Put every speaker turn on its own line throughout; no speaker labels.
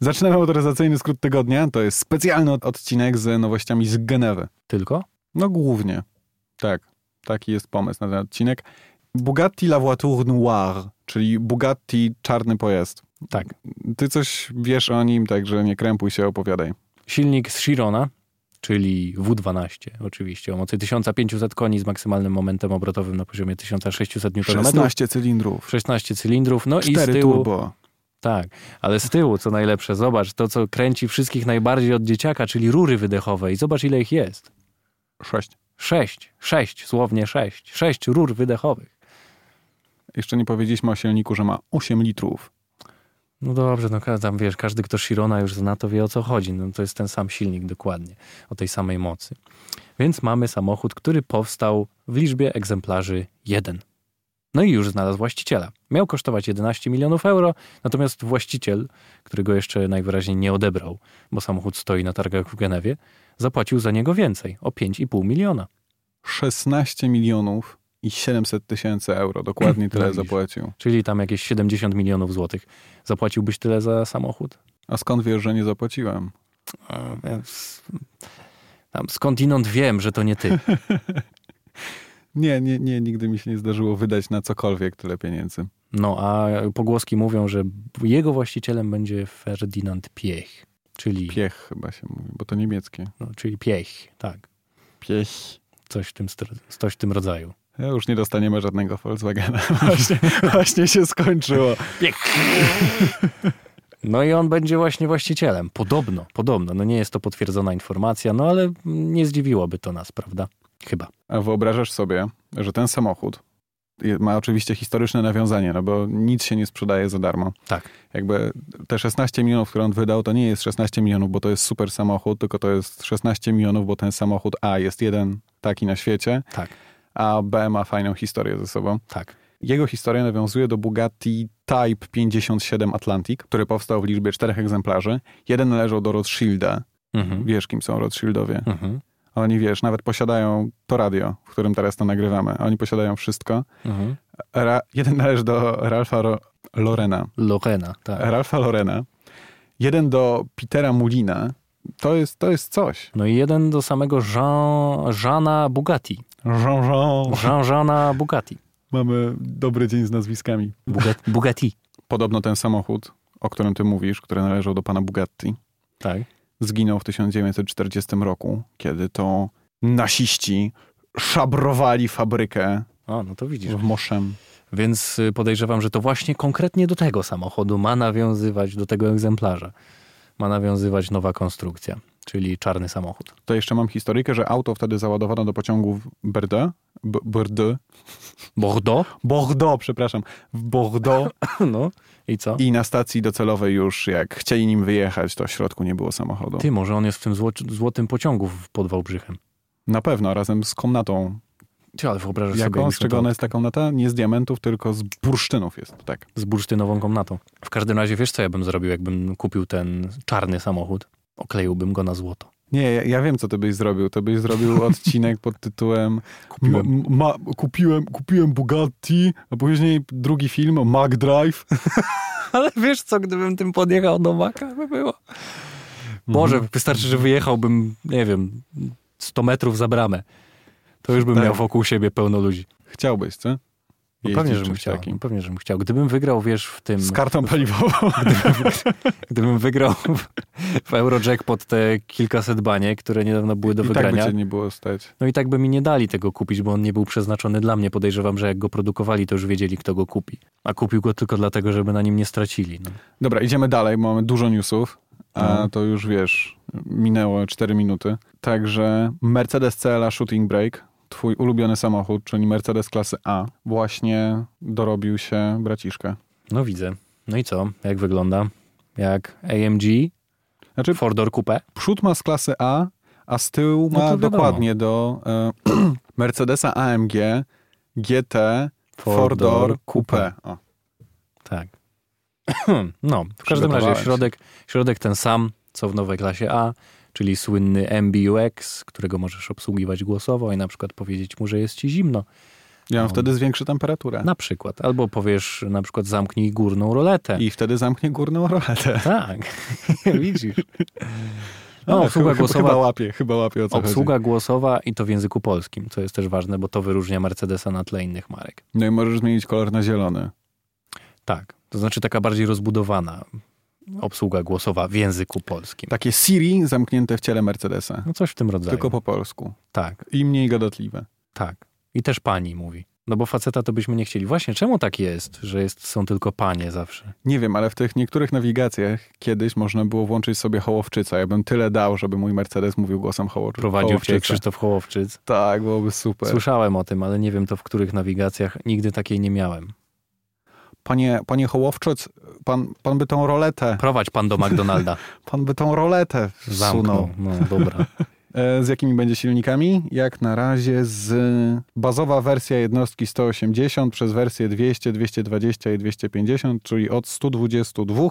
Zaczynamy motoryzacyjny skrót tygodnia. To jest specjalny od- odcinek z nowościami z Genewy.
Tylko?
No głównie. Tak. Taki jest pomysł na ten odcinek. Bugatti La Voiture Noire, czyli Bugatti czarny pojazd.
Tak.
Ty coś wiesz o nim, także nie krępuj się, opowiadaj.
Silnik z Chirona, czyli W12 oczywiście, o mocy 1500 koni z maksymalnym momentem obrotowym na poziomie 1600 Nm.
16 cylindrów,
16 cylindrów, no i z
4
tyłu...
turbo.
Tak, ale z tyłu, co najlepsze, zobacz, to co kręci wszystkich najbardziej od dzieciaka, czyli rury wydechowe i zobacz ile ich jest.
6.
Sześć, sześć, słownie sześć, sześć rur wydechowych.
Jeszcze nie powiedzieliśmy o silniku, że ma 8 litrów.
No dobrze, no ka- tam wiesz, każdy kto Chirona już zna, to wie o co chodzi. No to jest ten sam silnik dokładnie, o tej samej mocy. Więc mamy samochód, który powstał w liczbie egzemplarzy jeden. No i już znalazł właściciela. Miał kosztować 11 milionów euro, natomiast właściciel, którego jeszcze najwyraźniej nie odebrał, bo samochód stoi na targach w Genewie, zapłacił za niego więcej, o 5,5 miliona.
16 milionów i 700 tysięcy euro. Dokładnie tyle
Widzisz.
zapłacił.
Czyli tam jakieś 70 milionów złotych. Zapłaciłbyś tyle za samochód?
A skąd wiesz, że nie zapłaciłem?
Więc Tam skądinąd wiem, że to nie ty.
Nie, nie, nie, nigdy mi się nie zdarzyło wydać na cokolwiek tyle pieniędzy.
No a pogłoski mówią, że jego właścicielem będzie Ferdynand Piech, czyli,
Piech chyba się mówi, bo to niemieckie.
no, czyli Piech, tak.
Piech.
Coś w tym, stro- coś w tym rodzaju.
Ja już nie dostaniemy żadnego Volkswagena. Właśnie, właśnie się skończyło.
No i on będzie właśnie właścicielem. Podobno, podobno. No nie jest to potwierdzona informacja, no ale nie zdziwiłoby to nas, prawda? Chyba.
A wyobrażasz sobie, że ten samochód je- ma oczywiście historyczne nawiązanie, no bo nic się nie sprzedaje za darmo.
Tak.
Jakby te 16 milionów, które on wydał, to nie jest 16 milionów, bo to jest super samochód, tylko to jest 16 milionów, bo ten samochód A jest jeden taki na świecie,
Tak,
a B ma fajną historię ze sobą.
tak.
Jego historia nawiązuje do Bugatti Type 57 Atlantic, który powstał w liczbie czterech egzemplarzy. Jeden należał do Rothschilda.
Mhm.
Wiesz, kim są Rothschildowie.
Mhm.
Oni, wiesz, nawet posiadają to radio, w którym teraz to nagrywamy. Oni posiadają wszystko.
Mhm.
Ra- jeden należy do Ralfa Ro- Lorena.
Lorena, tak.
Ralfa Lorena. Jeden do Petera Mulina. To jest, to jest coś.
No i jeden do samego Jean, Jeana Bugatti.
Jean, Jean.
Jean-Jeana Bugatti.
Mamy dobry dzień z nazwiskami.
Bugatti. Bugatti.
Podobno ten samochód, o którym ty mówisz, który należał do pana Bugatti,
Tak.
zginął w 1940 roku, kiedy to nasiści szabrowali fabrykę
O, no to widzisz.
w Moszem.
Więc y, podejrzewam, że to właśnie konkretnie do tego samochodu ma nawiązywać, do tego egzemplarza, ma nawiązywać nowa konstrukcja, czyli czarny samochód.
To jeszcze mam historykę, że auto wtedy załadowano do pociągów Bordeaux. B- Bordeaux.
Bordeaux?
Bordeaux, przepraszam. W Bordeaux.
No i co?
I na stacji docelowej już, jak chcieli nim wyjechać, to w środku nie było samochodu.
Ty, może on jest w tym zło złotym pociągu w- pod Wałbrzychem.
Na pewno, razem z komnatą.
Ty, ale wyobrażasz sobie,
Jaką?
jak
Z czego
to-
ona jest ta komnata? Nie z diamentów, tylko z bursztynów jest. Tak.
Z bursztynową komnatą. W każdym razie, wiesz co ja bym zrobił, jakbym kupił ten czarny samochód? Okleiłbym go na złoto.
Nie, ja, ja wiem, co ty byś zrobił. To byś zrobił odcinek pod tytułem
Kupiłem.
M- ma, kupiłem, kupiłem Bugatti, a później drugi film, Mag Drive.
Ale wiesz co, gdybym tym podjechał do Maka, by było. Boże, wystarczy, że wyjechałbym, nie wiem, 100 metrów za bramę. To już bym
Tak.
miał wokół siebie pełno ludzi.
Chciałbyś, co?
No
Jeździć
pewnie,
czymś
żebym chciał.
takim.
No pewnie, żebym chciał. Gdybym wygrał, wiesz, w tym...
Z kartą paliwową.
Gdybym wygrał w, w Eurojackpot te kilkaset banie, które niedawno były do
I tak by
wygrania,
cię nie było stać.
no i tak by mi nie dali tego kupić, bo on nie był przeznaczony dla mnie. Podejrzewam, że jak go produkowali, to już wiedzieli, kto go kupi. A kupił go tylko dlatego, żeby na nim nie stracili. No.
Dobra, idziemy dalej, bo mamy dużo newsów, a
No.
to już wiesz, minęło 4 minuty. Także Mercedes CLA Shooting Brake, twój ulubiony samochód, czyli Mercedes klasy A, właśnie dorobił się braciszkę.
no widzę. No i co? Jak wygląda? Jak AMG?
Znaczy-
Fordor Coupe?
Przód ma z klasy A, a z tyłu
No
ma
to wiadomo.
dokładnie do e, Mercedesa AMG GT Fordor Coupe. O,
Tak. No, w każdym razie
Przygotowałeś.
środek, środek ten sam, co w nowej klasie A, czyli słynny MBUX, którego możesz obsługiwać głosowo i na przykład powiedzieć mu, że jest ci zimno.
Ja mam
No.
wtedy zwiększy temperaturę.
Na przykład. Albo powiesz na przykład zamknij górną roletę.
I wtedy zamknie górną roletę.
Tak, widzisz. No,
Ale chyba, Chyba
obsługa głosowa,
łapie, chyba łapie o co chodzi.
obsługa głosowa i to w języku polskim, co jest też ważne, bo to wyróżnia Mercedesa na tle innych marek.
No i możesz zmienić kolor na zielony.
Tak, to znaczy taka bardziej rozbudowana
No.
obsługa głosowa w języku polskim.
Takie Siri zamknięte w ciele Mercedesa.
No coś w tym rodzaju.
Tak. Tylko po polsku.
Tak,
I mniej gadotliwe.
tak. I też pani mówi. No bo faceta to byśmy nie chcieli. Właśnie, czemu tak jest, że jest, są tylko panie zawsze?
Nie wiem, ale w tych niektórych nawigacjach kiedyś można było włączyć sobie hołowczyca. Ja bym tyle dał, żeby mój Mercedes mówił głosem hołow...
Prowadził cię
hołowczyca.
Krzysztof Hołowczyc.
Tak, byłoby super.
Słyszałem o tym, ale nie wiem to w których nawigacjach. Nigdy takiej nie miałem.
Panie, panie hołowczyc, pan, pan by tą roletę,
Prowadź pan do McDonalda.
pan by tą roletę
Zamknął.
wsunął.
No dobra.
E, Z jakimi będzie silnikami? Jak na razie z bazowa wersja jednostki 180 przez wersję 200, 220 i 250, czyli od 122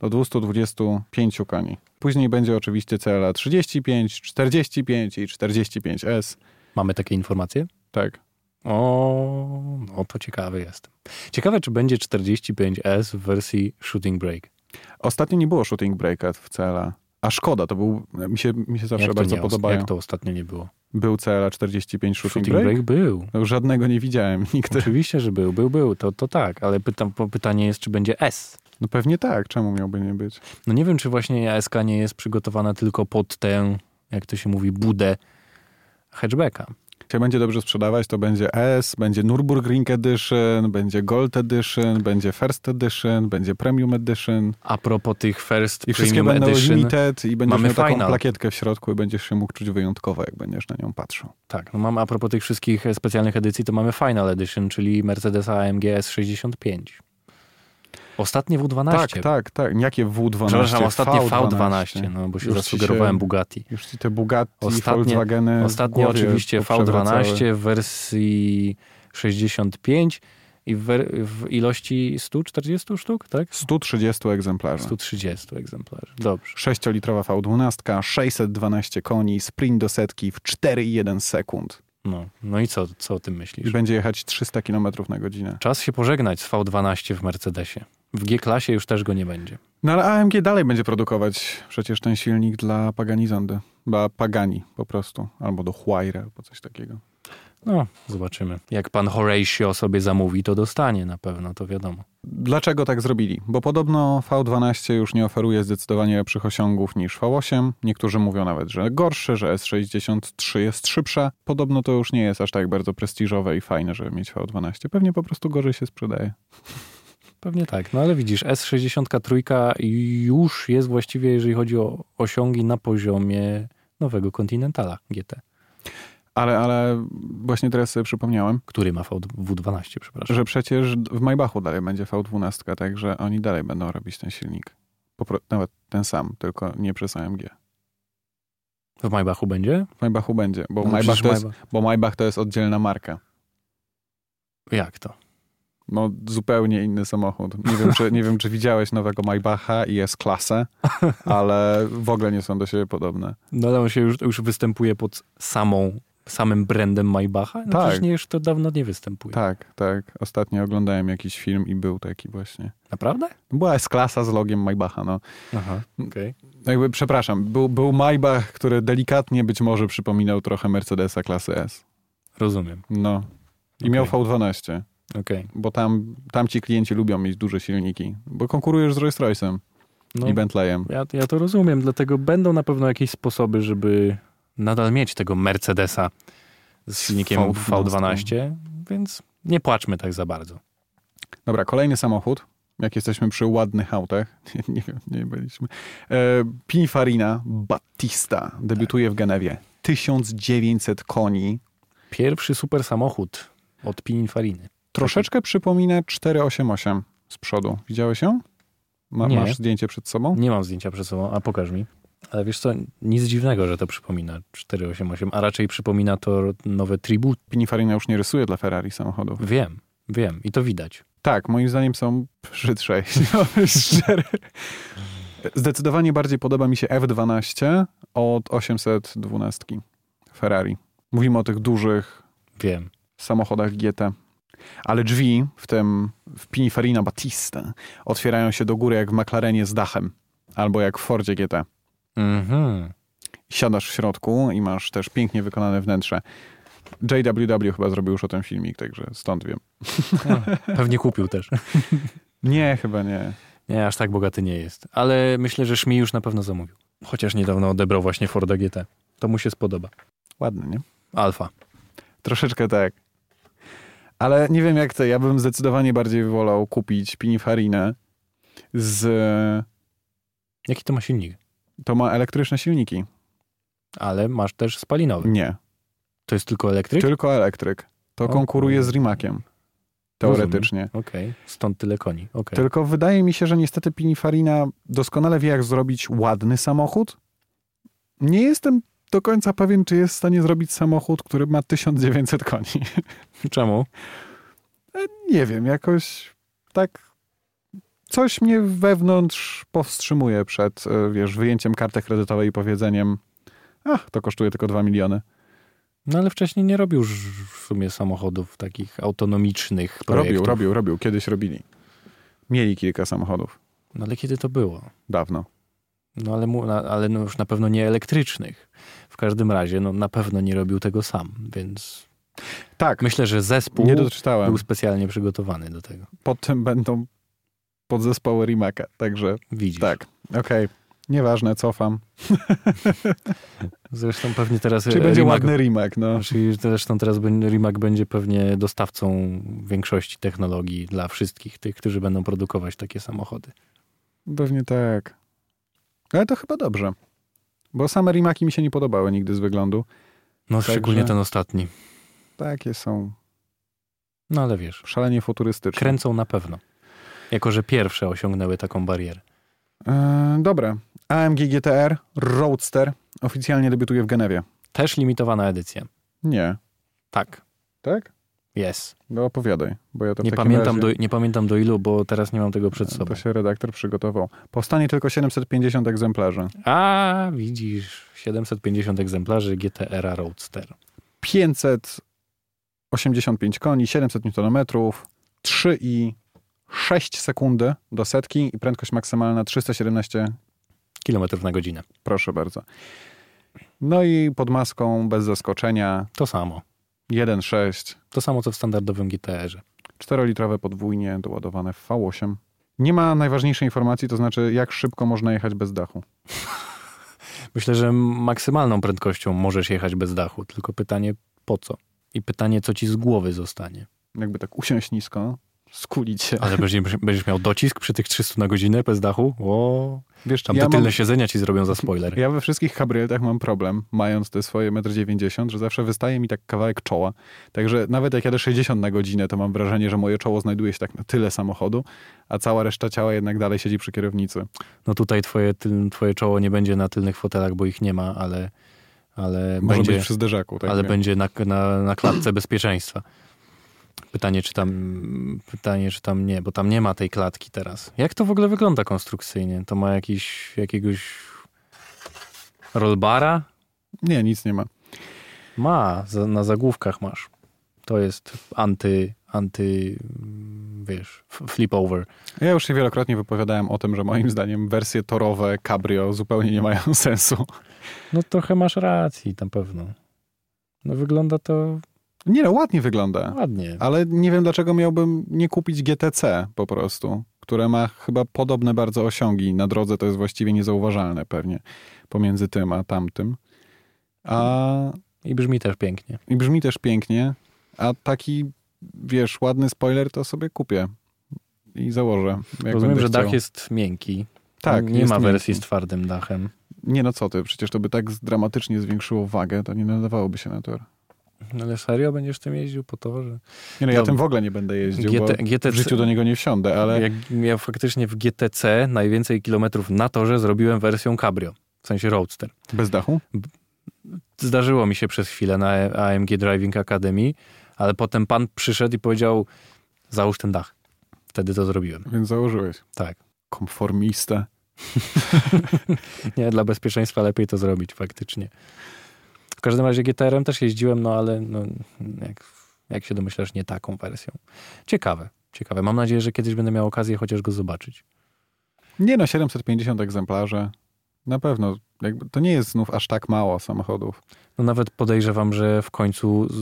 do 225 koni. Później będzie oczywiście CLA 35, 45 i 45S.
Mamy takie informacje?
Tak.
O, no to ciekawy jestem. Ciekawe, czy będzie 45S w wersji Shooting Break.
Ostatnio nie było shooting breaka w CLA. A szkoda, to był, mi się, mi się zawsze
jak,
bardzo
to nie,
podobają.
jak to ostatnio nie było?
Był CLA 45 shooting,
Shooting
break?
Break był.
No, Żadnego nie widziałem nigdy.
Oczywiście, że był, był, był, to, to tak, ale pytam, po- pytanie jest, czy będzie S.
No pewnie tak, czemu miałby nie być?
No nie wiem, czy właśnie ASK nie jest przygotowana tylko pod tę, jak to się mówi, budę hatchbacka.
Jak będzie dobrze sprzedawać, to będzie S, będzie Nürburgring Edition, będzie Gold Edition, będzie First Edition, będzie Premium Edition.
A propos tych first
I wszystkie
premium
będą
edition,
limited i będziesz
Mamy
miał taką
final.
plakietkę w środku i będziesz się mógł czuć wyjątkowo, jak będziesz na nią patrzył.
Tak, no mamy a propos tych wszystkich e, specjalnych edycji, to mamy Final Edition, czyli Mercedes AMG S65. Ostatnie W12.
Tak, tak, tak. Jakie W12?
Przepraszam, ostatnie V12, no bo się
Już ci
zasugerowałem
się-
Bugatti.
Już ci te Bugatti,
Ostatnie-
Volkswageny
Ostatnio
głowy
oczywiście
poprzewracały.
V12 w wersji 65 i w, wer- w ilości 140 sztuk, tak?
130 egzemplarzy.
130 egzemplarzy. Dobrze.
6-litrowa V12, 612 koni, sprint do setki w 4,1 sekund.
No, no i co, co o tym
I
myślisz?
będzie jechać 300 km na godzinę.
Czas się pożegnać z V12 w Mercedesie. W G-klasie już też go nie będzie.
No ale AMG dalej będzie produkować przecież ten silnik dla Pagani Zondy. Dla Pagani po prostu. Albo do Huayra, albo coś takiego.
No, zobaczymy. Jak pan Horatio sobie zamówi, to dostanie na pewno, to wiadomo.
Dlaczego tak zrobili? Bo podobno V12 już nie oferuje zdecydowanie lepszych osiągów niż V8. Niektórzy mówią nawet, że gorszy, że S63 jest szybsza. Podobno to już nie jest aż tak bardzo prestiżowe i fajne, żeby mieć V12. Pewnie po prostu gorzej się sprzedaje.
Pewnie tak, no ale widzisz, S63 już jest właściwie, jeżeli chodzi o osiągi, na poziomie nowego Continentala GT,
Ale, ale właśnie teraz sobie przypomniałem,
który ma V12, przepraszam.
że przecież w Maybachu dalej będzie V12, także oni dalej będą robić ten silnik. Popro- nawet ten sam, tylko nie przez AMG.
W Maybachu będzie?
W Maybachu będzie, bo,
No
Maybach
przecież
to jest,
Maybach-
bo Maybach to jest oddzielna marka.
Jak to?
No zupełnie inny samochód. Nie wiem, czy, nie wiem, czy widziałeś nowego Maybacha i S-klasę, ale w ogóle nie są do siebie podobne.
No ale on się już, już występuje pod samą, samym brandem Maybacha? No
Tak.
przecież nie, już to dawno nie występuje.
Tak, tak. Ostatnio oglądałem jakiś film i był taki właśnie.
Naprawdę?
Była S-klasa z logiem Maybacha, no.
Aha, okej.
Jakby, przepraszam, był, był Maybach, który delikatnie być może przypominał trochę Mercedesa klasy S.
Rozumiem,
No. I
Okej.
miał V12,
okej.
bo tam, tam ci klienci lubią mieć duże silniki, bo konkurujesz z Rolls Royce'em
No,
i Bentley'em.
ja, ja to rozumiem, dlatego będą na pewno jakieś sposoby, żeby nadal mieć tego Mercedesa z silnikiem
V12.
V12, więc nie płaczmy tak za bardzo.
Dobra, kolejny samochód. Jak jesteśmy przy ładnych autach, nie, nie wiem, nie byliśmy. E, Pininfarina Battista debiutuje w Genewie. 1900 koni.
Pierwszy super samochód od Pininfariny.
Troszeczkę przypomina 488 z przodu. Widziałeś ją? Ma,
Nie.
masz zdjęcie przed sobą?
Nie mam zdjęcia przed sobą, a pokaż mi. Ale wiesz co, nic dziwnego, że to przypomina 488, a raczej przypomina to nowe tribut.
Pininfarina już nie rysuje dla Ferrari samochodów.
Wiem, wiem i to widać.
Tak, moim zdaniem są brzydsze, jeśli mamy szczery. Zdecydowanie bardziej podoba mi się F12 od 812 Ferrari. Mówimy o tych dużych,
Wiem.
samochodach GT. Ale drzwi w tym w Pininfarina Batista otwierają się do góry jak w McLarenie z dachem albo jak w Fordzie GT.
Mhm.
Siadasz w środku i masz też pięknie wykonane wnętrze. JWW chyba zrobił już o tym filmik, także stąd wiem.
Pewnie kupił też.
Nie, chyba nie.
Nie, aż tak bogaty nie jest. Ale myślę, że Szmi już na pewno zamówił. Chociaż niedawno odebrał właśnie Forda GT. To mu się spodoba.
Ładny, nie?
Alfa.
Troszeczkę tak. Ale nie wiem jak ty, ja bym zdecydowanie bardziej wolał kupić Pininfarinę z...
Jaki to ma silnik?
To ma elektryczne silniki.
Ale masz też spalinowy.
Nie,
To jest tylko elektryk?
tylko elektryk. To
O
konkuruje
kurde.
z Rimakiem. Teoretycznie.
Okej, stąd tyle koni. Okej.
Tylko wydaje mi się, że niestety Pininfarina doskonale wie, jak zrobić ładny samochód. Nie jestem do końca pewien, czy jest w stanie zrobić samochód, który ma 1900 koni.
Czemu?
Nie wiem, jakoś tak coś mnie wewnątrz powstrzymuje przed, e, wiesz, wyjęciem karty kredytowej i powiedzeniem ach, to kosztuje tylko 2 miliony.
No ale wcześniej nie robił ż- w sumie samochodów takich autonomicznych projektów.
Robił, robił, robił. Kiedyś robili. Mieli kilka samochodów.
No ale kiedy to było?
Dawno.
No ale, mu, na, ale no już na pewno nie elektrycznych. W każdym razie, no na pewno nie robił tego sam, więc
Tak,
myślę, że zespół
nie doczytałem.
był specjalnie przygotowany do tego.
Potem będą podzespoły Rimaka, także
Widzisz.
Tak, okej. Nieważne, cofam.
Zresztą pewnie teraz
Czyli
e,
będzie
Rimac-
ładny rimak, no.
Czyli zresztą teraz będzie- Rimac będzie pewnie dostawcą większości technologii dla wszystkich tych, którzy będą produkować takie samochody.
Pewnie tak. Ale to chyba dobrze. Bo same rimaki mi się nie podobały nigdy z wyglądu.
No
Także-
szczególnie ten ostatni.
Takie są
No ale wiesz,
szalenie futurystyczne.
kręcą na pewno. Jako, że pierwsze osiągnęły taką barierę.
E, dobra. AMG GTR Roadster oficjalnie debiutuje w Genewie.
Też limitowana edycja.
Nie.
Tak,
Tak?
jest.
No opowiadaj, bo ja to w
Nie
takim
pamiętam,
razie...
do, nie pamiętam do ilu, bo teraz nie mam tego przed sobą.
To się redaktor przygotował. Powstanie tylko 750 egzemplarzy.
A, widzisz, 750 egzemplarzy GTR Roadster.
585 koni, 700 Nm, 3 i 6 sekundy do setki i prędkość maksymalna 317,
Kilometrów na godzinę.
proszę bardzo. No i pod maską, bez zaskoczenia,
To samo.
1.6,
To samo, co w standardowym GTR-ze.
4-litrowe podwójnie doładowane w V8. Nie ma najważniejszej informacji, to znaczy jak szybko można jechać bez dachu.
Myślę, że maksymalną prędkością możesz jechać bez dachu, tylko pytanie po co? I pytanie, co ci z głowy zostanie.
Jakby tak usiąść nisko, skulić się.
Ale będziesz, będziesz miał docisk przy tych 300 na godzinę bez dachu? O,
Wiesz,
tam
ja
te tylne
mam-
siedzenia ci zrobią za spoiler.
Ja we wszystkich kabrioletach mam problem, mając te swoje 1,90 m, że zawsze wystaje mi tak kawałek czoła. Także nawet jak jadę 60 na godzinę, to mam wrażenie, że moje czoło znajduje się tak na tyle samochodu, a cała reszta ciała jednak dalej siedzi przy kierownicy.
No tutaj twoje, tyl- twoje czoło nie będzie na tylnych fotelach, bo ich nie ma, ale, ale
Może
będzie...
być przy zderzaku. Tak
ale
wiem.
będzie na, na, na klatce bezpieczeństwa. Pytanie czy, tam, pytanie, czy tam nie, bo tam nie ma tej klatki teraz. Jak to w ogóle wygląda konstrukcyjnie? To ma jakiś, jakiegoś rollbara?
Nie, nic nie ma.
Ma, za, na zagłówkach masz. To jest anty, anty, mm, wiesz, f- flip over.
Ja już się wielokrotnie wypowiadałem o tym, że moim zdaniem wersje torowe cabrio zupełnie nie mają sensu.
No trochę masz racji, na pewno. No wygląda to
Nie no, ładnie wygląda,
ładnie.
ale nie wiem dlaczego miałbym nie kupić GTC po prostu, które ma chyba podobne bardzo osiągi. Na drodze to jest właściwie niezauważalne pewnie pomiędzy tym a tamtym. A
I brzmi też pięknie.
i brzmi też pięknie, a taki wiesz, ładny spoiler to sobie kupię i założę. jak
Rozumiem,
będę
że dach
chciał.
jest miękki.
tak,
nie
jest
ma wersji
miękki.
z twardym dachem.
Nie no co ty, przecież to by tak dramatycznie zwiększyło wagę, to nie nadawałoby się na tor.
No ale serio będziesz tym jeździł po to, że...
Nie no, ja
Dobra.
tym w ogóle nie będę jeździł, bo
GT,
w życiu do niego nie wsiądę, ale
Jak ja faktycznie w GTC najwięcej kilometrów na torze zrobiłem wersją cabrio, w sensie roadster.
bez dachu?
Zdarzyło mi się przez chwilę na AMG Driving Academy, ale potem pan przyszedł i powiedział załóż ten dach. Wtedy to zrobiłem,
Więc założyłeś.
tak.
Konformista.
Nie, dla bezpieczeństwa lepiej to zrobić faktycznie. W każdym razie GTR-em też jeździłem, no ale no, jak jak się domyślasz, nie taką wersją. Ciekawe, ciekawe. Mam nadzieję, że kiedyś będę miał okazję chociaż go zobaczyć.
Nie no, 750 egzemplarzy. Na pewno. Jakby, to nie jest znów aż tak mało samochodów.
No nawet podejrzewam, że w końcu z,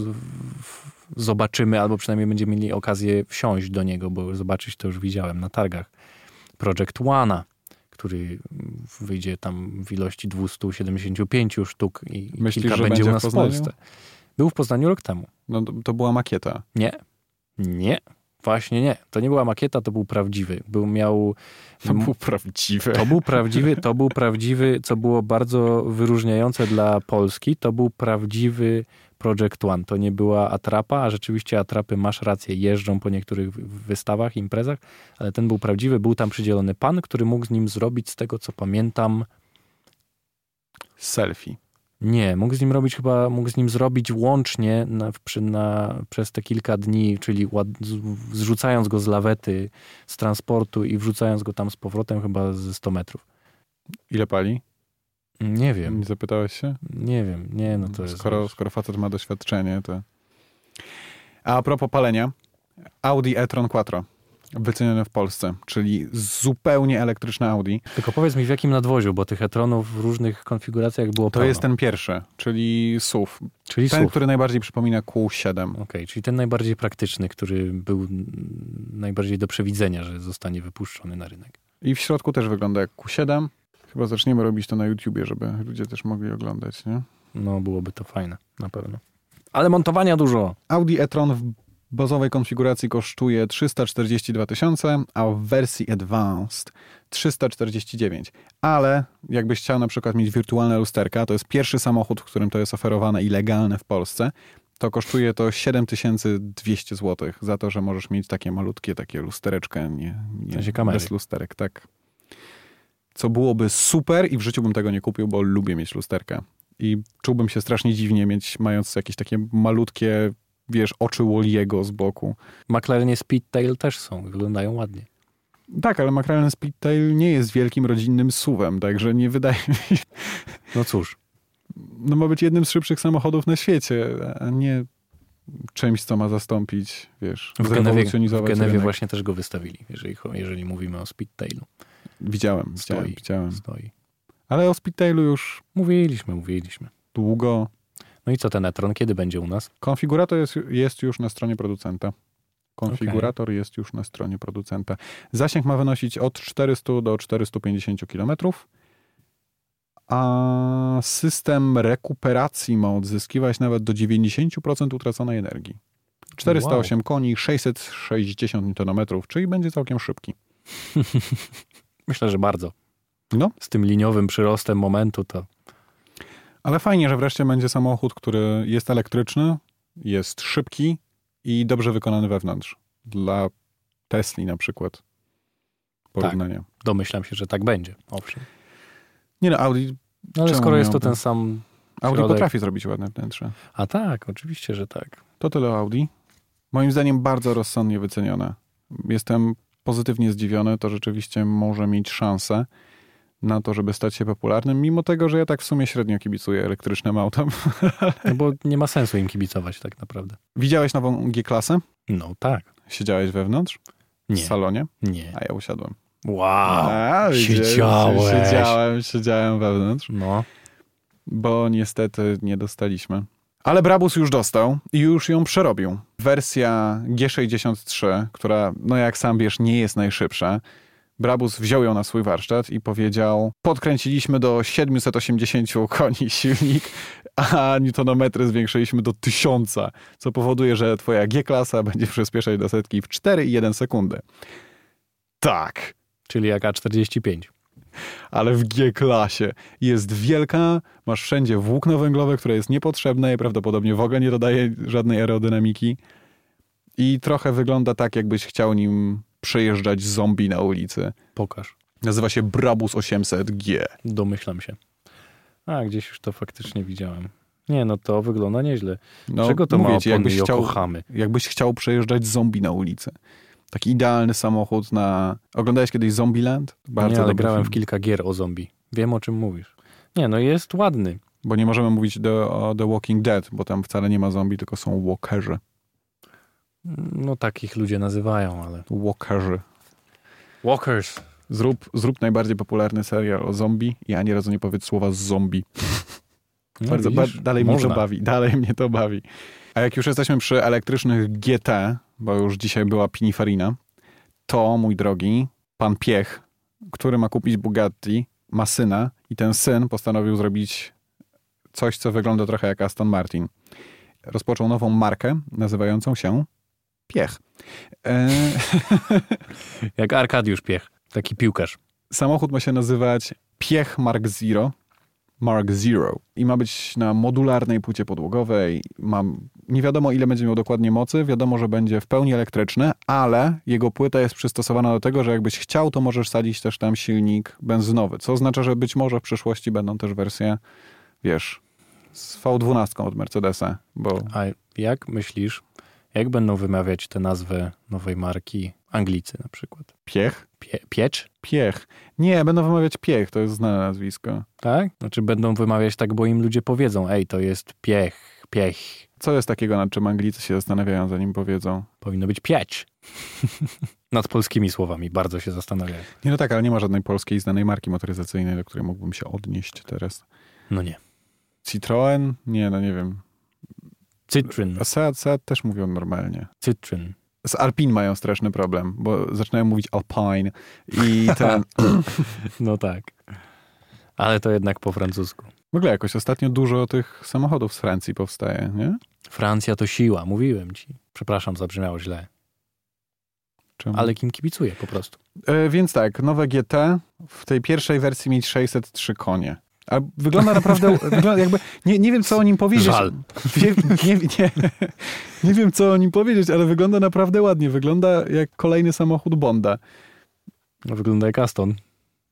w, zobaczymy, albo przynajmniej będziemy mieli okazję wsiąść do niego, bo zobaczyć to już widziałem na targach. Project One'a, który wyjdzie tam w ilości 275 sztuk i
Myślisz,
kilka
że
będzie u
będzie w
nas w
Poznaniu?
Polsce. Był w Poznaniu rok temu.
No, to- to była makieta.
Nie. Nie. Właśnie nie. To nie była makieta, to był prawdziwy. Był miał...
To był prawdziwy.
To był prawdziwy, to był prawdziwy, co było bardzo wyróżniające dla Polski, to był prawdziwy Project One. To nie była atrapa, a rzeczywiście atrapy, masz rację, jeżdżą po niektórych wy- wystawach, imprezach, ale ten był prawdziwy, był tam przydzielony pan, który mógł z nim zrobić, z tego co pamiętam,
Selfie.
nie, mógł z nim robić chyba, mógł z nim zrobić łącznie na, przy, na, przez te kilka dni, czyli ład, z- zrzucając go z lawety, z transportu i wrzucając go tam z powrotem chyba ze 100 metrów.
Ile pali?
Nie wiem.
Nie zapytałeś się?
Nie wiem, nie, no to
skoro,
jest.
skoro facet ma doświadczenie, to... A propos palenia, Audi e-tron Quattro, wycenione w Polsce, czyli zupełnie elektryczne Audi.
Tylko powiedz mi w jakim nadwoziu, bo tych etronów w różnych konfiguracjach było
To
pełno.
jest ten pierwszy, czyli SUV.
czyli
Ten,
SUV.
który najbardziej przypomina Q7.
Okej, czyli ten najbardziej praktyczny, który był mm, najbardziej do przewidzenia, że zostanie wypuszczony na rynek.
I w środku też wygląda jak Q7. Chyba zaczniemy robić to na YouTubie, żeby ludzie też mogli oglądać, nie?
No byłoby to fajne, na pewno. Ale montowania dużo.
Audi e-tron w bazowej konfiguracji kosztuje 342 tysiące, a w wersji Advanced 349. Ale jakbyś chciał na przykład mieć wirtualne lusterka, to jest pierwszy samochód, w którym to jest oferowane i legalne w Polsce, to kosztuje to 7200 zł za to, że możesz mieć takie malutkie, takie lustereczkę, nie,
W sensie
nie
kamery.
bez lusterek, tak. Co byłoby super i w życiu bym tego nie kupił, bo lubię mieć lusterka. I czułbym się strasznie dziwnie mieć, mając jakieś takie malutkie, wiesz, oczy Walliego z boku.
McLarenie Speedtail też są i wyglądają ładnie.
Tak, ale McLaren Speedtail nie jest wielkim rodzinnym suwem, także nie wydaje mi się...
No cóż,
No ma być jednym z szybszych samochodów na świecie, a nie czymś, co ma zastąpić, wiesz,
w Genewie, w
zrewolucjonizować
Genewie
rynek.
właśnie też go wystawili, jeżeli, cho- jeżeli mówimy o Speedtailu.
Widziałem, widziałem,
Stoi.
widziałem.
Stoi.
Ale o Speedtailu już
Mówiliśmy, mówiliśmy.
długo.
No i co ten Etron, kiedy będzie u nas?
Konfigurator jest, jest już na stronie producenta. Konfigurator jest już na stronie producenta. Zasięg ma wynosić od 400 do 450 km. A system rekuperacji ma odzyskiwać nawet do 90% utraconej energii. 408 koni, 660 Nm, czyli będzie całkiem szybki.
Myślę, że bardzo.
No.
Z tym liniowym przyrostem momentu to
Ale fajnie, że wreszcie będzie samochód, który jest elektryczny, jest szybki i dobrze wykonany wewnątrz. Dla Tesli na przykład. Porównanie.
domyślam się, że tak będzie. Owszem.
Nie no, Audi,
No ale
Czemu
skoro jest to
miałby?
ten sam.
Audi
Środek.
potrafi zrobić ładne wnętrze.
A tak, oczywiście, że tak.
To tyle o Audi. Moim zdaniem bardzo rozsądnie wycenione. Jestem pozytywnie zdziwiony, to rzeczywiście może mieć szansę na to, żeby stać się popularnym, mimo tego, że ja tak w sumie średnio kibicuję elektrycznym autom.
No bo nie ma sensu im kibicować tak naprawdę.
Widziałeś nową G-klasę?
No tak.
Siedziałeś wewnątrz? W
Nie.
salonie?
Nie.
A ja usiadłem.
Wow.
A, widzisz,
siedziałeś.
Siedziałem, siedziałem wewnątrz,
No.
bo niestety nie dostaliśmy. Ale Brabus już dostał i już ją przerobił. Wersja G63, która, no jak sam wiesz, nie jest najszybsza. Brabus wziął ją na swój warsztat i powiedział: Podkręciliśmy do 780 koni silnik, a newtonometry zwiększyliśmy do 1000, co powoduje, że twoja G-klasa będzie przyspieszać do setki w 4,1 sekundy. Tak
Czyli jak A45.
ale w G-klasie. Jest wielka, masz wszędzie włókno węglowe, które jest niepotrzebne i prawdopodobnie w ogóle nie dodaje żadnej aerodynamiki. I trochę wygląda tak, jakbyś chciał nim przejeżdżać zombie na ulicy.
Pokaż.
Nazywa się Brabus 800G.
Domyślam się. A, gdzieś już to faktycznie widziałem. Nie, no to wygląda nieźle.
No,
Czego to ma
mówię ci,
opony
jakbyś
i
chciał,
okochamy?
jakbyś chciał przejeżdżać zombie na ulicy. Taki idealny samochód na... Oglądałeś kiedyś Zombieland?
Nie, ale
dobry
grałem w
film.
kilka gier o zombie. Wiem, o czym mówisz. Nie, no jest ładny.
Bo nie możemy mówić do, o The Walking Dead, bo tam wcale nie ma zombie, tylko są walkerzy.
No takich ludzie nazywają, ale...
Walkerzy.
Walkers.
Zrób, zrób najbardziej popularny serial o zombie i ani razu nie powiedz słowa zombie.
No,
Bardzo, ba-
widzisz?
dalej mnie
Można.
to bawi, dalej mnie to bawi. A jak już jesteśmy przy elektrycznych GT, bo już dzisiaj była Pinifarina, to mój drogi, pan Piech, który ma kupić Bugatti, ma syna i ten syn postanowił zrobić coś, co wygląda trochę jak Aston Martin. Rozpoczął nową markę nazywającą się Piech. E,
Jak Arkadiusz Piech, taki piłkarz.
samochód ma się nazywać Piech Mark Zero. Mark Zero i ma być na modularnej płycie podłogowej. Mam, nie wiadomo, ile będzie miał dokładnie mocy. Wiadomo, że będzie w pełni elektryczny, ale jego płyta jest przystosowana do tego, że jakbyś chciał, to możesz sadzić też tam silnik benzynowy. Co oznacza, że być może w przyszłości będą też wersje, wiesz, z V12 od Mercedesa, bo
A jak myślisz, jak będą wymawiać tę nazwę nowej marki Anglicy na przykład?
piech?
Pie, piecz?
Piech. Nie, będą wymawiać piech, to jest znane nazwisko.
Tak? Znaczy będą wymawiać tak, bo im ludzie powiedzą, ej, to jest piech, piech.
Co jest takiego, nad czym Anglicy się zastanawiają, zanim powiedzą?
Powinno być pieć. Nad polskimi słowami bardzo się zastanawiają.
Nie, no tak, ale nie ma żadnej polskiej znanej marki motoryzacyjnej, do której mógłbym się odnieść teraz.
No nie.
Citroen? Nie, no nie wiem.
Cytryn,
A Seat, Seat też mówią normalnie.
cytryn.
Z Alpine mają straszny problem, bo zaczynają mówić Alpine i ten...
No tak. Ale to jednak po francusku.
W ogóle jakoś ostatnio dużo tych samochodów z Francji powstaje, nie?
Francja to siła, mówiłem ci. Przepraszam, zabrzmiało źle.
Czemu?
Ale kim kibicuję po prostu.
E, więc tak, nowe GT w tej pierwszej wersji mieć 603 konie. A wygląda naprawdę, wygląda jakby, nie, nie wiem co o nim powiedzieć.
Żal.
Wie, nie, nie, nie wiem co o nim powiedzieć, ale wygląda naprawdę ładnie. Wygląda jak kolejny samochód Bonda.
No, wygląda jak Aston.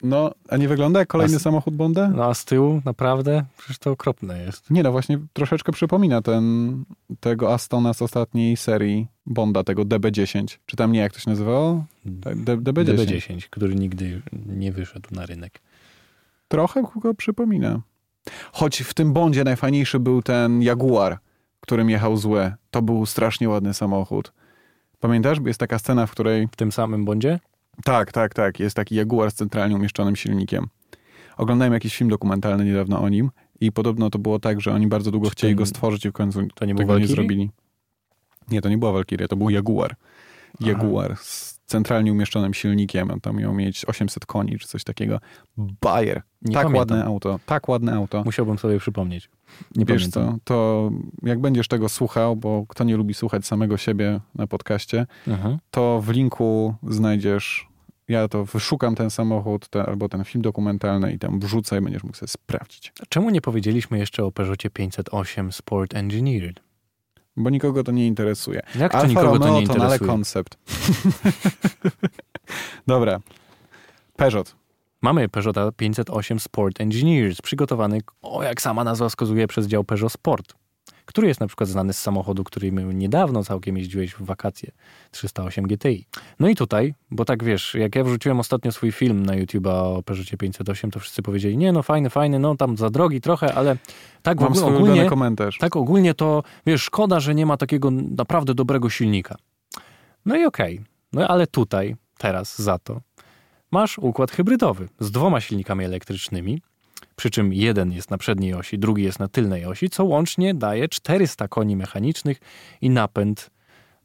No, a nie wygląda jak kolejny
A s-
samochód Bonda?
No a z tyłu naprawdę? Przecież to okropne jest.
Nie, no właśnie troszeczkę przypomina ten, tego Astona z ostatniej serii Bonda, tego DB10. Czy tam nie, jak to się nazywało? Tak, D- DB10. DB10.
DB10, który nigdy nie wyszedł na rynek.
Trochę go przypomina. Choć w tym Bondzie najfajniejszy był ten Jaguar, którym jechał zły. To był strasznie ładny samochód. Pamiętasz? Jest taka scena, w której
W tym samym bądzie?
Tak, tak, tak. Jest taki Jaguar z centralnie umieszczonym silnikiem. Oglądałem jakiś film dokumentalny niedawno o nim i podobno to było tak, że oni bardzo długo
Czy
chcieli
to-
go stworzyć i w końcu
to nie był
tego nie
Valkyrie?
zrobili. Nie, to nie była Walkiria, to był Jaguar. Jaguar z centralnie umieszczonym silnikiem. On tam miał mieć 800 koni czy coś takiego. Bayer.
Nie
tak
pamiętam.
ładne auto, tak ładne auto.
Musiałbym sobie przypomnieć. Nie
Wiesz
pamiętam.
co, to jak będziesz tego słuchał, bo kto nie lubi słuchać samego siebie na podcaście,
Aha.
to w linku znajdziesz. Ja to wyszukam ten samochód te, albo ten film dokumentalny i tam wrzucę i będziesz mógł sobie sprawdzić.
Czemu nie powiedzieliśmy jeszcze o Peugeotie 508 Sport Engineered?
Bo nikogo to nie interesuje.
Jak to
Alfa
nikogo
Romeo
to nie
ale
interesuje?
koncept. Dobra. Peugeot.
Mamy Peugeota 508 Sport Engineers, przygotowany, o jak sama nazwa wskazuje, przez dział Peugeot Sport, który jest na przykład znany z samochodu, którym niedawno całkiem jeździłeś w wakacje, 308 GTI. No i tutaj, bo tak wiesz, jak ja wrzuciłem ostatnio swój film na YouTube'a o Peugeotie 508, to wszyscy powiedzieli, nie no fajny, fajny, no tam za drogi trochę, ale tak w
Mam
ogóle,
swój ulubiony
ogólnie,
komentarz.
tak ogólnie to, wiesz, szkoda, że nie ma takiego naprawdę dobrego silnika. No i okej. No ale tutaj, teraz za to masz układ hybrydowy z dwoma silnikami elektrycznymi, przy czym jeden jest na przedniej osi, drugi jest na tylnej osi, co łącznie daje 400 koni mechanicznych i napęd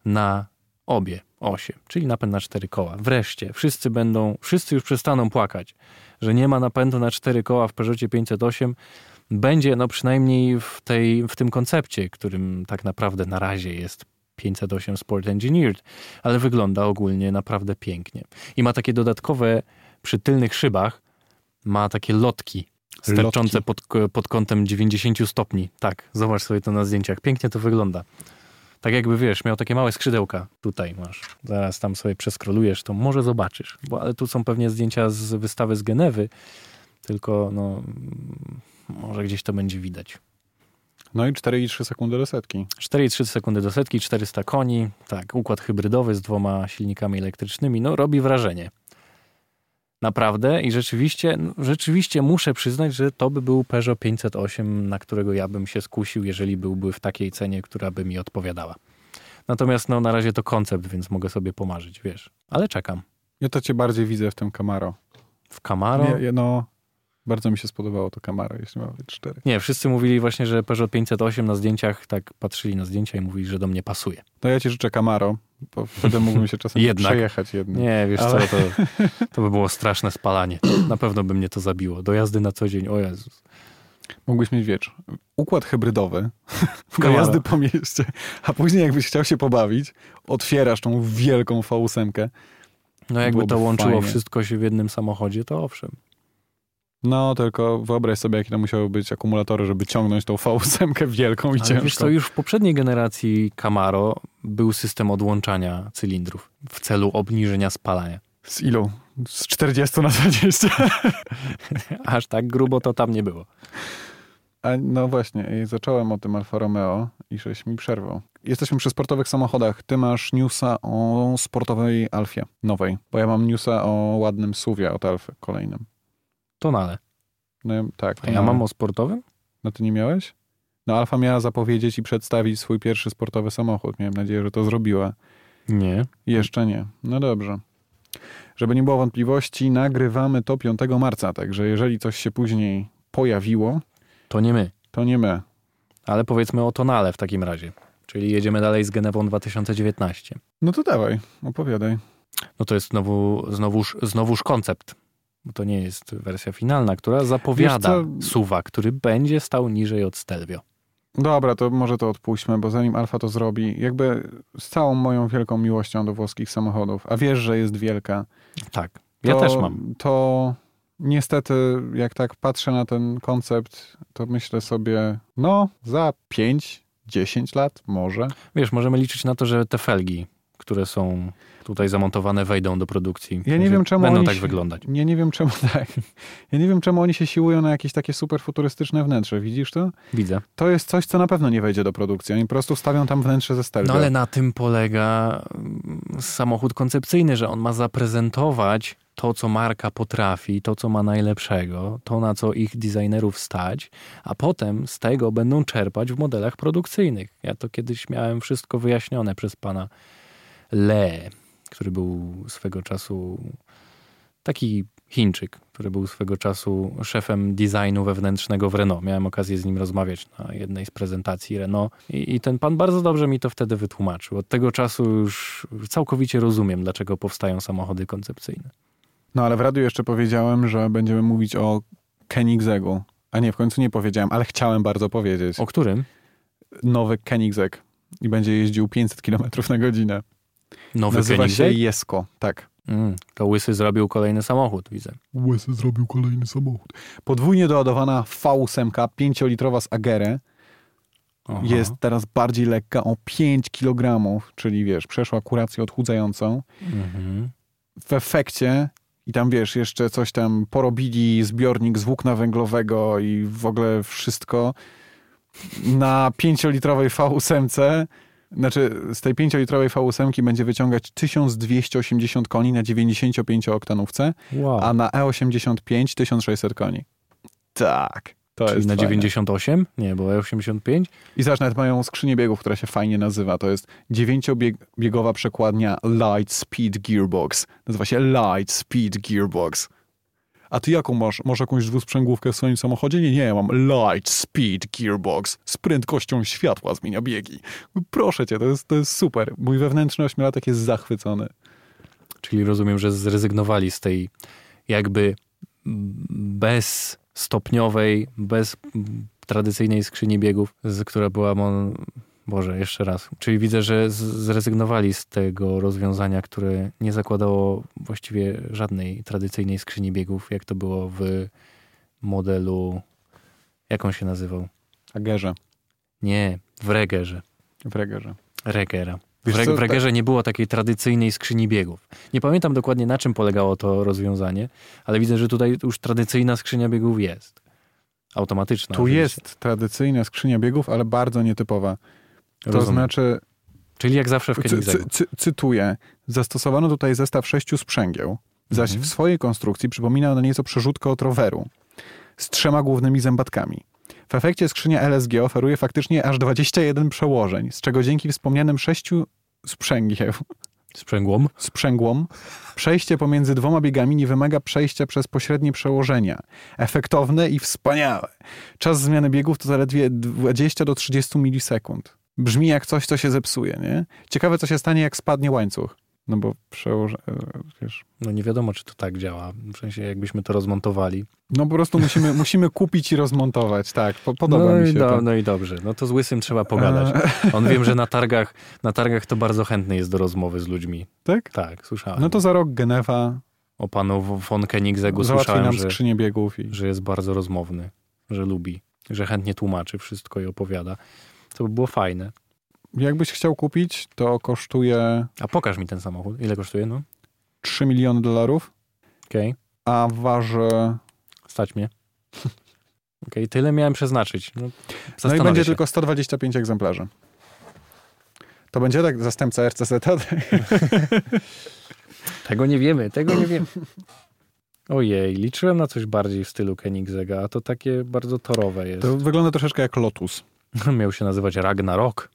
na obie osie, czyli napęd na cztery koła. Wreszcie wszyscy będą, wszyscy już przestaną płakać, że nie ma napędu na cztery koła w Peugeotie 508. Będzie, no przynajmniej w, tej, w tym koncepcie, którym tak naprawdę na razie jest 508 Sport Engineered, ale wygląda ogólnie naprawdę pięknie. I ma takie dodatkowe, przy tylnych szybach, ma takie lotki sterczące
Lotki.
pod, pod kątem 90 stopni. Tak, zobacz sobie to na zdjęciach. Pięknie to wygląda. Tak jakby wiesz, miał takie małe skrzydełka. Tutaj masz. Zaraz tam sobie przeskrolujesz, to może zobaczysz. Bo, ale tu są pewnie zdjęcia z wystawy z Genewy, tylko no, mm, może gdzieś to będzie widać.
No i 4,3 sekundy do setki.
4,3 sekundy do setki, 400 koni, tak, układ hybrydowy z dwoma silnikami elektrycznymi, no robi wrażenie. Naprawdę i rzeczywiście, no, rzeczywiście muszę przyznać, że to by był Peugeot 508, na którego ja bym się skusił, jeżeli byłby w takiej cenie, która by mi odpowiadała. Natomiast no, na razie to koncept, więc mogę sobie pomarzyć, wiesz. Ale czekam.
Ja to cię bardziej widzę w tym Camaro.
W Camaro?
Nie,
Nie,
ja- no, bardzo mi się spodobało to Camaro, jeśli mam być cztery.
wszyscy mówili właśnie, że Peugeot 508 na zdjęciach, tak patrzyli na zdjęcia i mówili, że do mnie pasuje.
No ja ci życzę Camaro, bo wtedy mógłbym się czasem
Jednak.
przejechać jednym.
Nie, wiesz
Ale-
co, to, to by było straszne spalanie. Na pewno by mnie to zabiło. Dojazdy na co dzień, o Jezus.
Mógłbyś mieć, wiecz, układ hybrydowy,
W Camaro.
jazdy po mieście, a później jakbyś chciał się pobawić, otwierasz tą wielką V8.
No jakby to
byłoby
łączyło
fajnie.
wszystko się w jednym samochodzie, to owszem.
No, tylko wyobraź sobie, jakie to musiały być akumulatory, żeby ciągnąć tą V8 wielką i
Ale wiesz
ciężką.
co, już w poprzedniej generacji Camaro był system odłączania cylindrów w celu obniżenia spalania.
Z ilu? Z 40 na 20.
Aż tak grubo to tam nie było.
A no właśnie, i zacząłem o tym Alfa Romeo i żeś mi przerwał. Jesteśmy przy sportowych samochodach. Ty masz newsa o sportowej Alfie nowej, bo ja mam newsa o ładnym Suwie od Alfy kolejnym.
Tonale.
No, tak.
A ja
no.
mam o sportowym?
No ty nie miałeś? No Alfa miała zapowiedzieć i przedstawić swój pierwszy sportowy samochód. Miałem nadzieję, że to zrobiła.
Nie.
Jeszcze nie. No dobrze. Żeby nie było wątpliwości, nagrywamy to 5 marca, także jeżeli coś się później pojawiło,
To nie my.
to nie my.
Ale powiedzmy o Tonale w takim razie. Czyli jedziemy dalej z Genewą 2019.
No to dawaj, opowiadaj.
No to jest znowu, znowuż, znowuż koncept. Bo to nie jest wersja finalna, która zapowiada
Wiesz co?
suwa, który będzie stał niżej od Stelvio.
Dobra, to może to odpuśćmy, bo zanim Alfa to zrobi, jakby z całą moją wielką miłością do włoskich samochodów, a wiesz, że jest wielka,
Tak. Ja
to-
też mam.
To niestety, jak tak patrzę na ten koncept, to myślę sobie, no, za 5, 10 lat może.
Wiesz, możemy liczyć na to, że te felgi, które są tutaj zamontowane, wejdą do produkcji.
Ja nie wiem, czemu
Będą
oni
tak
się-
wyglądać.
Ja nie wiem czemu tak. Ja nie wiem czemu oni się siłują na jakieś takie super futurystyczne wnętrze, widzisz to?
Widzę.
To jest coś, co na pewno nie wejdzie do produkcji. Oni po prostu stawią tam wnętrze ze Stelvio.
No ale na tym polega mm, samochód koncepcyjny, że on ma zaprezentować to, co marka potrafi, to, co ma najlepszego, to, na co ich designerów stać, a potem z tego będą czerpać w modelach produkcyjnych. Ja to kiedyś miałem wszystko wyjaśnione przez pana Le, który był swego czasu taki Chińczyk, który był swego czasu szefem designu wewnętrznego w Renault. Miałem okazję z nim rozmawiać na jednej z prezentacji Renault i, i ten pan bardzo dobrze mi to wtedy wytłumaczył. Od tego czasu już całkowicie rozumiem, dlaczego powstają samochody koncepcyjne.
No ale w radiu jeszcze powiedziałem, że będziemy mówić o Koenigsegu. A nie, w końcu nie powiedziałem, ale chciałem bardzo powiedzieć.
O którym?
Nowy Koenigsegg. I będzie jeździł 500 km na godzinę.
Nowy
Nazywa
Koenigsegg?
się Jesko, tak.
Mm, to Łysy zrobił kolejny samochód, widzę.
Łysy zrobił kolejny samochód. Podwójnie doładowana V8, 5-litrowa z Agerę,
Aha.
jest teraz bardziej lekka o 5 kg, czyli wiesz, przeszła kurację odchudzającą.
Mhm.
W efekcie, i tam wiesz, jeszcze coś tam porobili, zbiornik z włókna węglowego i w ogóle wszystko, na 5-litrowej V8, znaczy z tej 5-litrowej V8 będzie wyciągać 1280 koni na 95-oktanówce,
Wow.
a na E E85 1600 koni. Tak. To
Czyli
jest
na
fajne.
98? Nie, bo E 85?
I zaś nawet mają skrzynię biegów, która się fajnie nazywa. To jest dziewięciobiegowa przekładnia Light Speed Gearbox. Nazywa się Light Speed Gearbox. A ty jaką masz? Masz jakąś dwusprzęgłówkę w swoim samochodzie? Nie, nie, ja mam Light Speed Gearbox. Z prędkością światła zmienia biegi. Proszę cię, to jest, to jest super. Mój wewnętrzny ośmiolatek jest zachwycony.
Czyli rozumiem, że zrezygnowali z tej jakby bezstopniowej, bez tradycyjnej skrzyni biegów, z, która była mon... Boże, jeszcze raz. Czyli widzę, że z- zrezygnowali z tego rozwiązania, które nie zakładało właściwie żadnej tradycyjnej skrzyni biegów, jak to było w modelu. Jak on się nazywał?
A gerze.
Nie, w Regerze.
W regerze.
Regera. W,
Wiesz
reg-
co, tak-
w Regerze nie było takiej tradycyjnej skrzyni biegów. Nie pamiętam dokładnie na czym polegało to rozwiązanie, ale widzę, że tutaj już tradycyjna skrzynia biegów jest. Automatyczna.
Tu
oczywiście.
jest tradycyjna skrzynia biegów, ale bardzo nietypowa. To
Rozumiem.
znaczy,
Czyli jak zawsze w
Cy,
Koenigseggu.
cy, cy, cytuję. Zastosowano tutaj zestaw sześciu sprzęgieł, zaś
Mhm.
w swojej konstrukcji przypomina ona nieco przerzutkę od roweru z trzema głównymi zębatkami. W efekcie skrzynia LSG oferuje faktycznie aż 21 przełożeń, z czego dzięki wspomnianym sześciu sprzęgieł,
Sprzęgłom?
sprzęgłą, przejście pomiędzy dwoma biegami nie wymaga przejścia przez pośrednie przełożenia. Efektowne i wspaniałe. Czas zmiany biegów to zaledwie 20 do 30 milisekund. Brzmi jak coś, co się zepsuje, nie? Ciekawe, co się stanie, jak spadnie łańcuch. No bo przełożenie, wiesz...
No nie wiadomo, czy to tak działa. W sensie, jakbyśmy to rozmontowali.
No po prostu musimy, musimy kupić i rozmontować, tak. Po, podoba
no,
mi
i
się
do,
to.
no i dobrze. No to z Łysym trzeba pogadać. On wiem, że na targach, na targach to bardzo chętny jest do rozmowy z ludźmi.
Tak?
Tak, słyszałem.
No to za rok Genewa
O panu von Koenigseggu
załatwi
słyszałem,
nam
że,
skrzynię biegów i...
że jest bardzo rozmowny, że lubi, że chętnie tłumaczy wszystko i opowiada. To by było fajne.
Jakbyś chciał kupić, to kosztuje
A pokaż mi ten samochód. Ile kosztuje? No,
3 miliony dolarów,
okej.
a waży...
Stać mnie. Okej, tyle miałem przeznaczyć. No,
No i
zastanowię
będzie
się.
tylko 125 egzemplarzy. To będzie tak zastępca RCZ.
Tego nie wiemy, tego nie wiemy. Ojej, liczyłem na coś bardziej w stylu Koenigsegga, a to takie bardzo torowe jest.
To wygląda troszeczkę jak Lotus.
Miał się nazywać Ragnarok.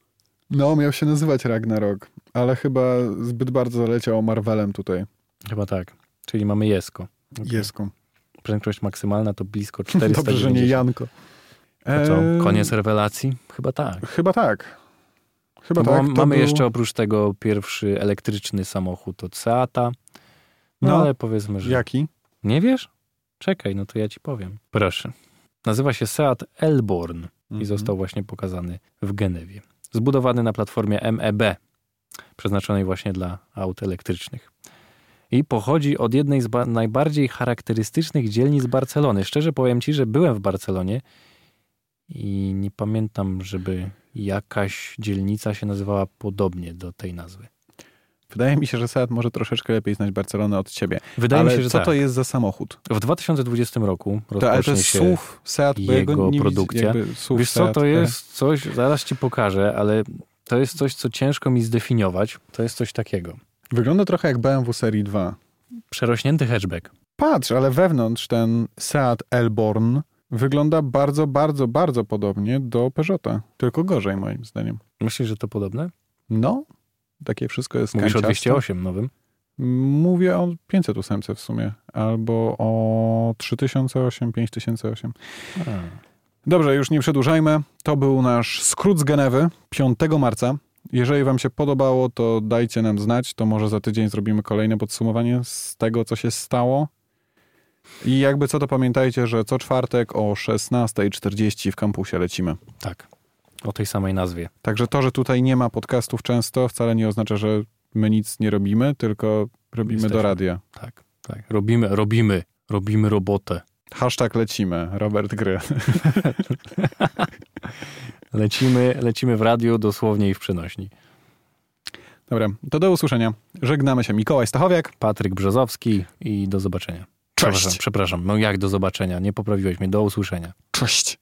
No, miał się nazywać Ragnarok, ale chyba zbyt bardzo leciał Marvelem tutaj.
Chyba tak. Czyli mamy Jesko.
Jeską.
Prędkość maksymalna to blisko 400.
Dobrze, że nie Janko.
To co,
Eee,
koniec rewelacji? Chyba tak.
Chyba tak. Chyba
Bo
tak.
mam-
to
mamy
był-
jeszcze oprócz tego pierwszy elektryczny samochód od Seata. No,
No.
ale powiedzmy, że...
Jaki?
Nie wiesz? Czekaj, no to ja ci powiem. Proszę. Nazywa się Seat Elborn.
Mhm.
i został właśnie pokazany w Genewie. Zbudowany na platformie MEB, przeznaczonej właśnie dla aut elektrycznych. I pochodzi od jednej z ba- najbardziej charakterystycznych dzielnic Barcelony. Szczerze powiem ci, że byłem w Barcelonie i nie pamiętam, żeby jakaś dzielnica się nazywała podobnie do tej nazwy.
Wydaje mi się, że Seat może troszeczkę lepiej znać Barcelonę od ciebie.
Wydaje
ale
mi się, że
co
tak.
to jest za samochód?
W 2020 roku
To, ale to
rozpocznie
jest
się...
SUV Seat, bo ja
jego
go nie widzę,
produkcja.
Jakby SUV
Wiesz co,
Seat,
to jest coś, zaraz ci pokażę, ale to jest coś, co ciężko mi zdefiniować. To jest coś takiego.
Wygląda trochę jak BMW serii 2.
Przerośnięty hatchback.
Patrz, ale wewnątrz ten Seat Elborn wygląda bardzo, bardzo, bardzo podobnie do Peugeota. Tylko gorzej moim zdaniem.
Myślisz, że to podobne?
No, takie wszystko jest
Mówisz o
kanciaste.
208 nowym?
Mówię o 508 w sumie. Albo o 3008, 5008. Dobrze, już nie przedłużajmy. To był nasz skrót z Genewy 5 marca. Jeżeli Wam się podobało, to dajcie nam znać. To może za tydzień zrobimy kolejne podsumowanie z tego, co się stało. I jakby co, to pamiętajcie, że co czwartek o 16.40 w kampusie lecimy.
Tak. O tej samej nazwie.
Także to, że tutaj nie ma podcastów często, wcale nie oznacza, że my nic nie robimy, tylko robimy
Jesteśmy.
do radia.
Tak, tak. Robimy, robimy, robimy robotę.
Hashtag lecimy. Robert Gry.
Lecimy, lecimy w radiu dosłownie i w przenośni.
Dobra, to do usłyszenia. Żegnamy się. Mikołaj Stachowiak.
Patryk Brzozowski i do zobaczenia. Przepraszam, przepraszam. No jak do zobaczenia? Nie poprawiłeś mnie. Do usłyszenia.
Cześć.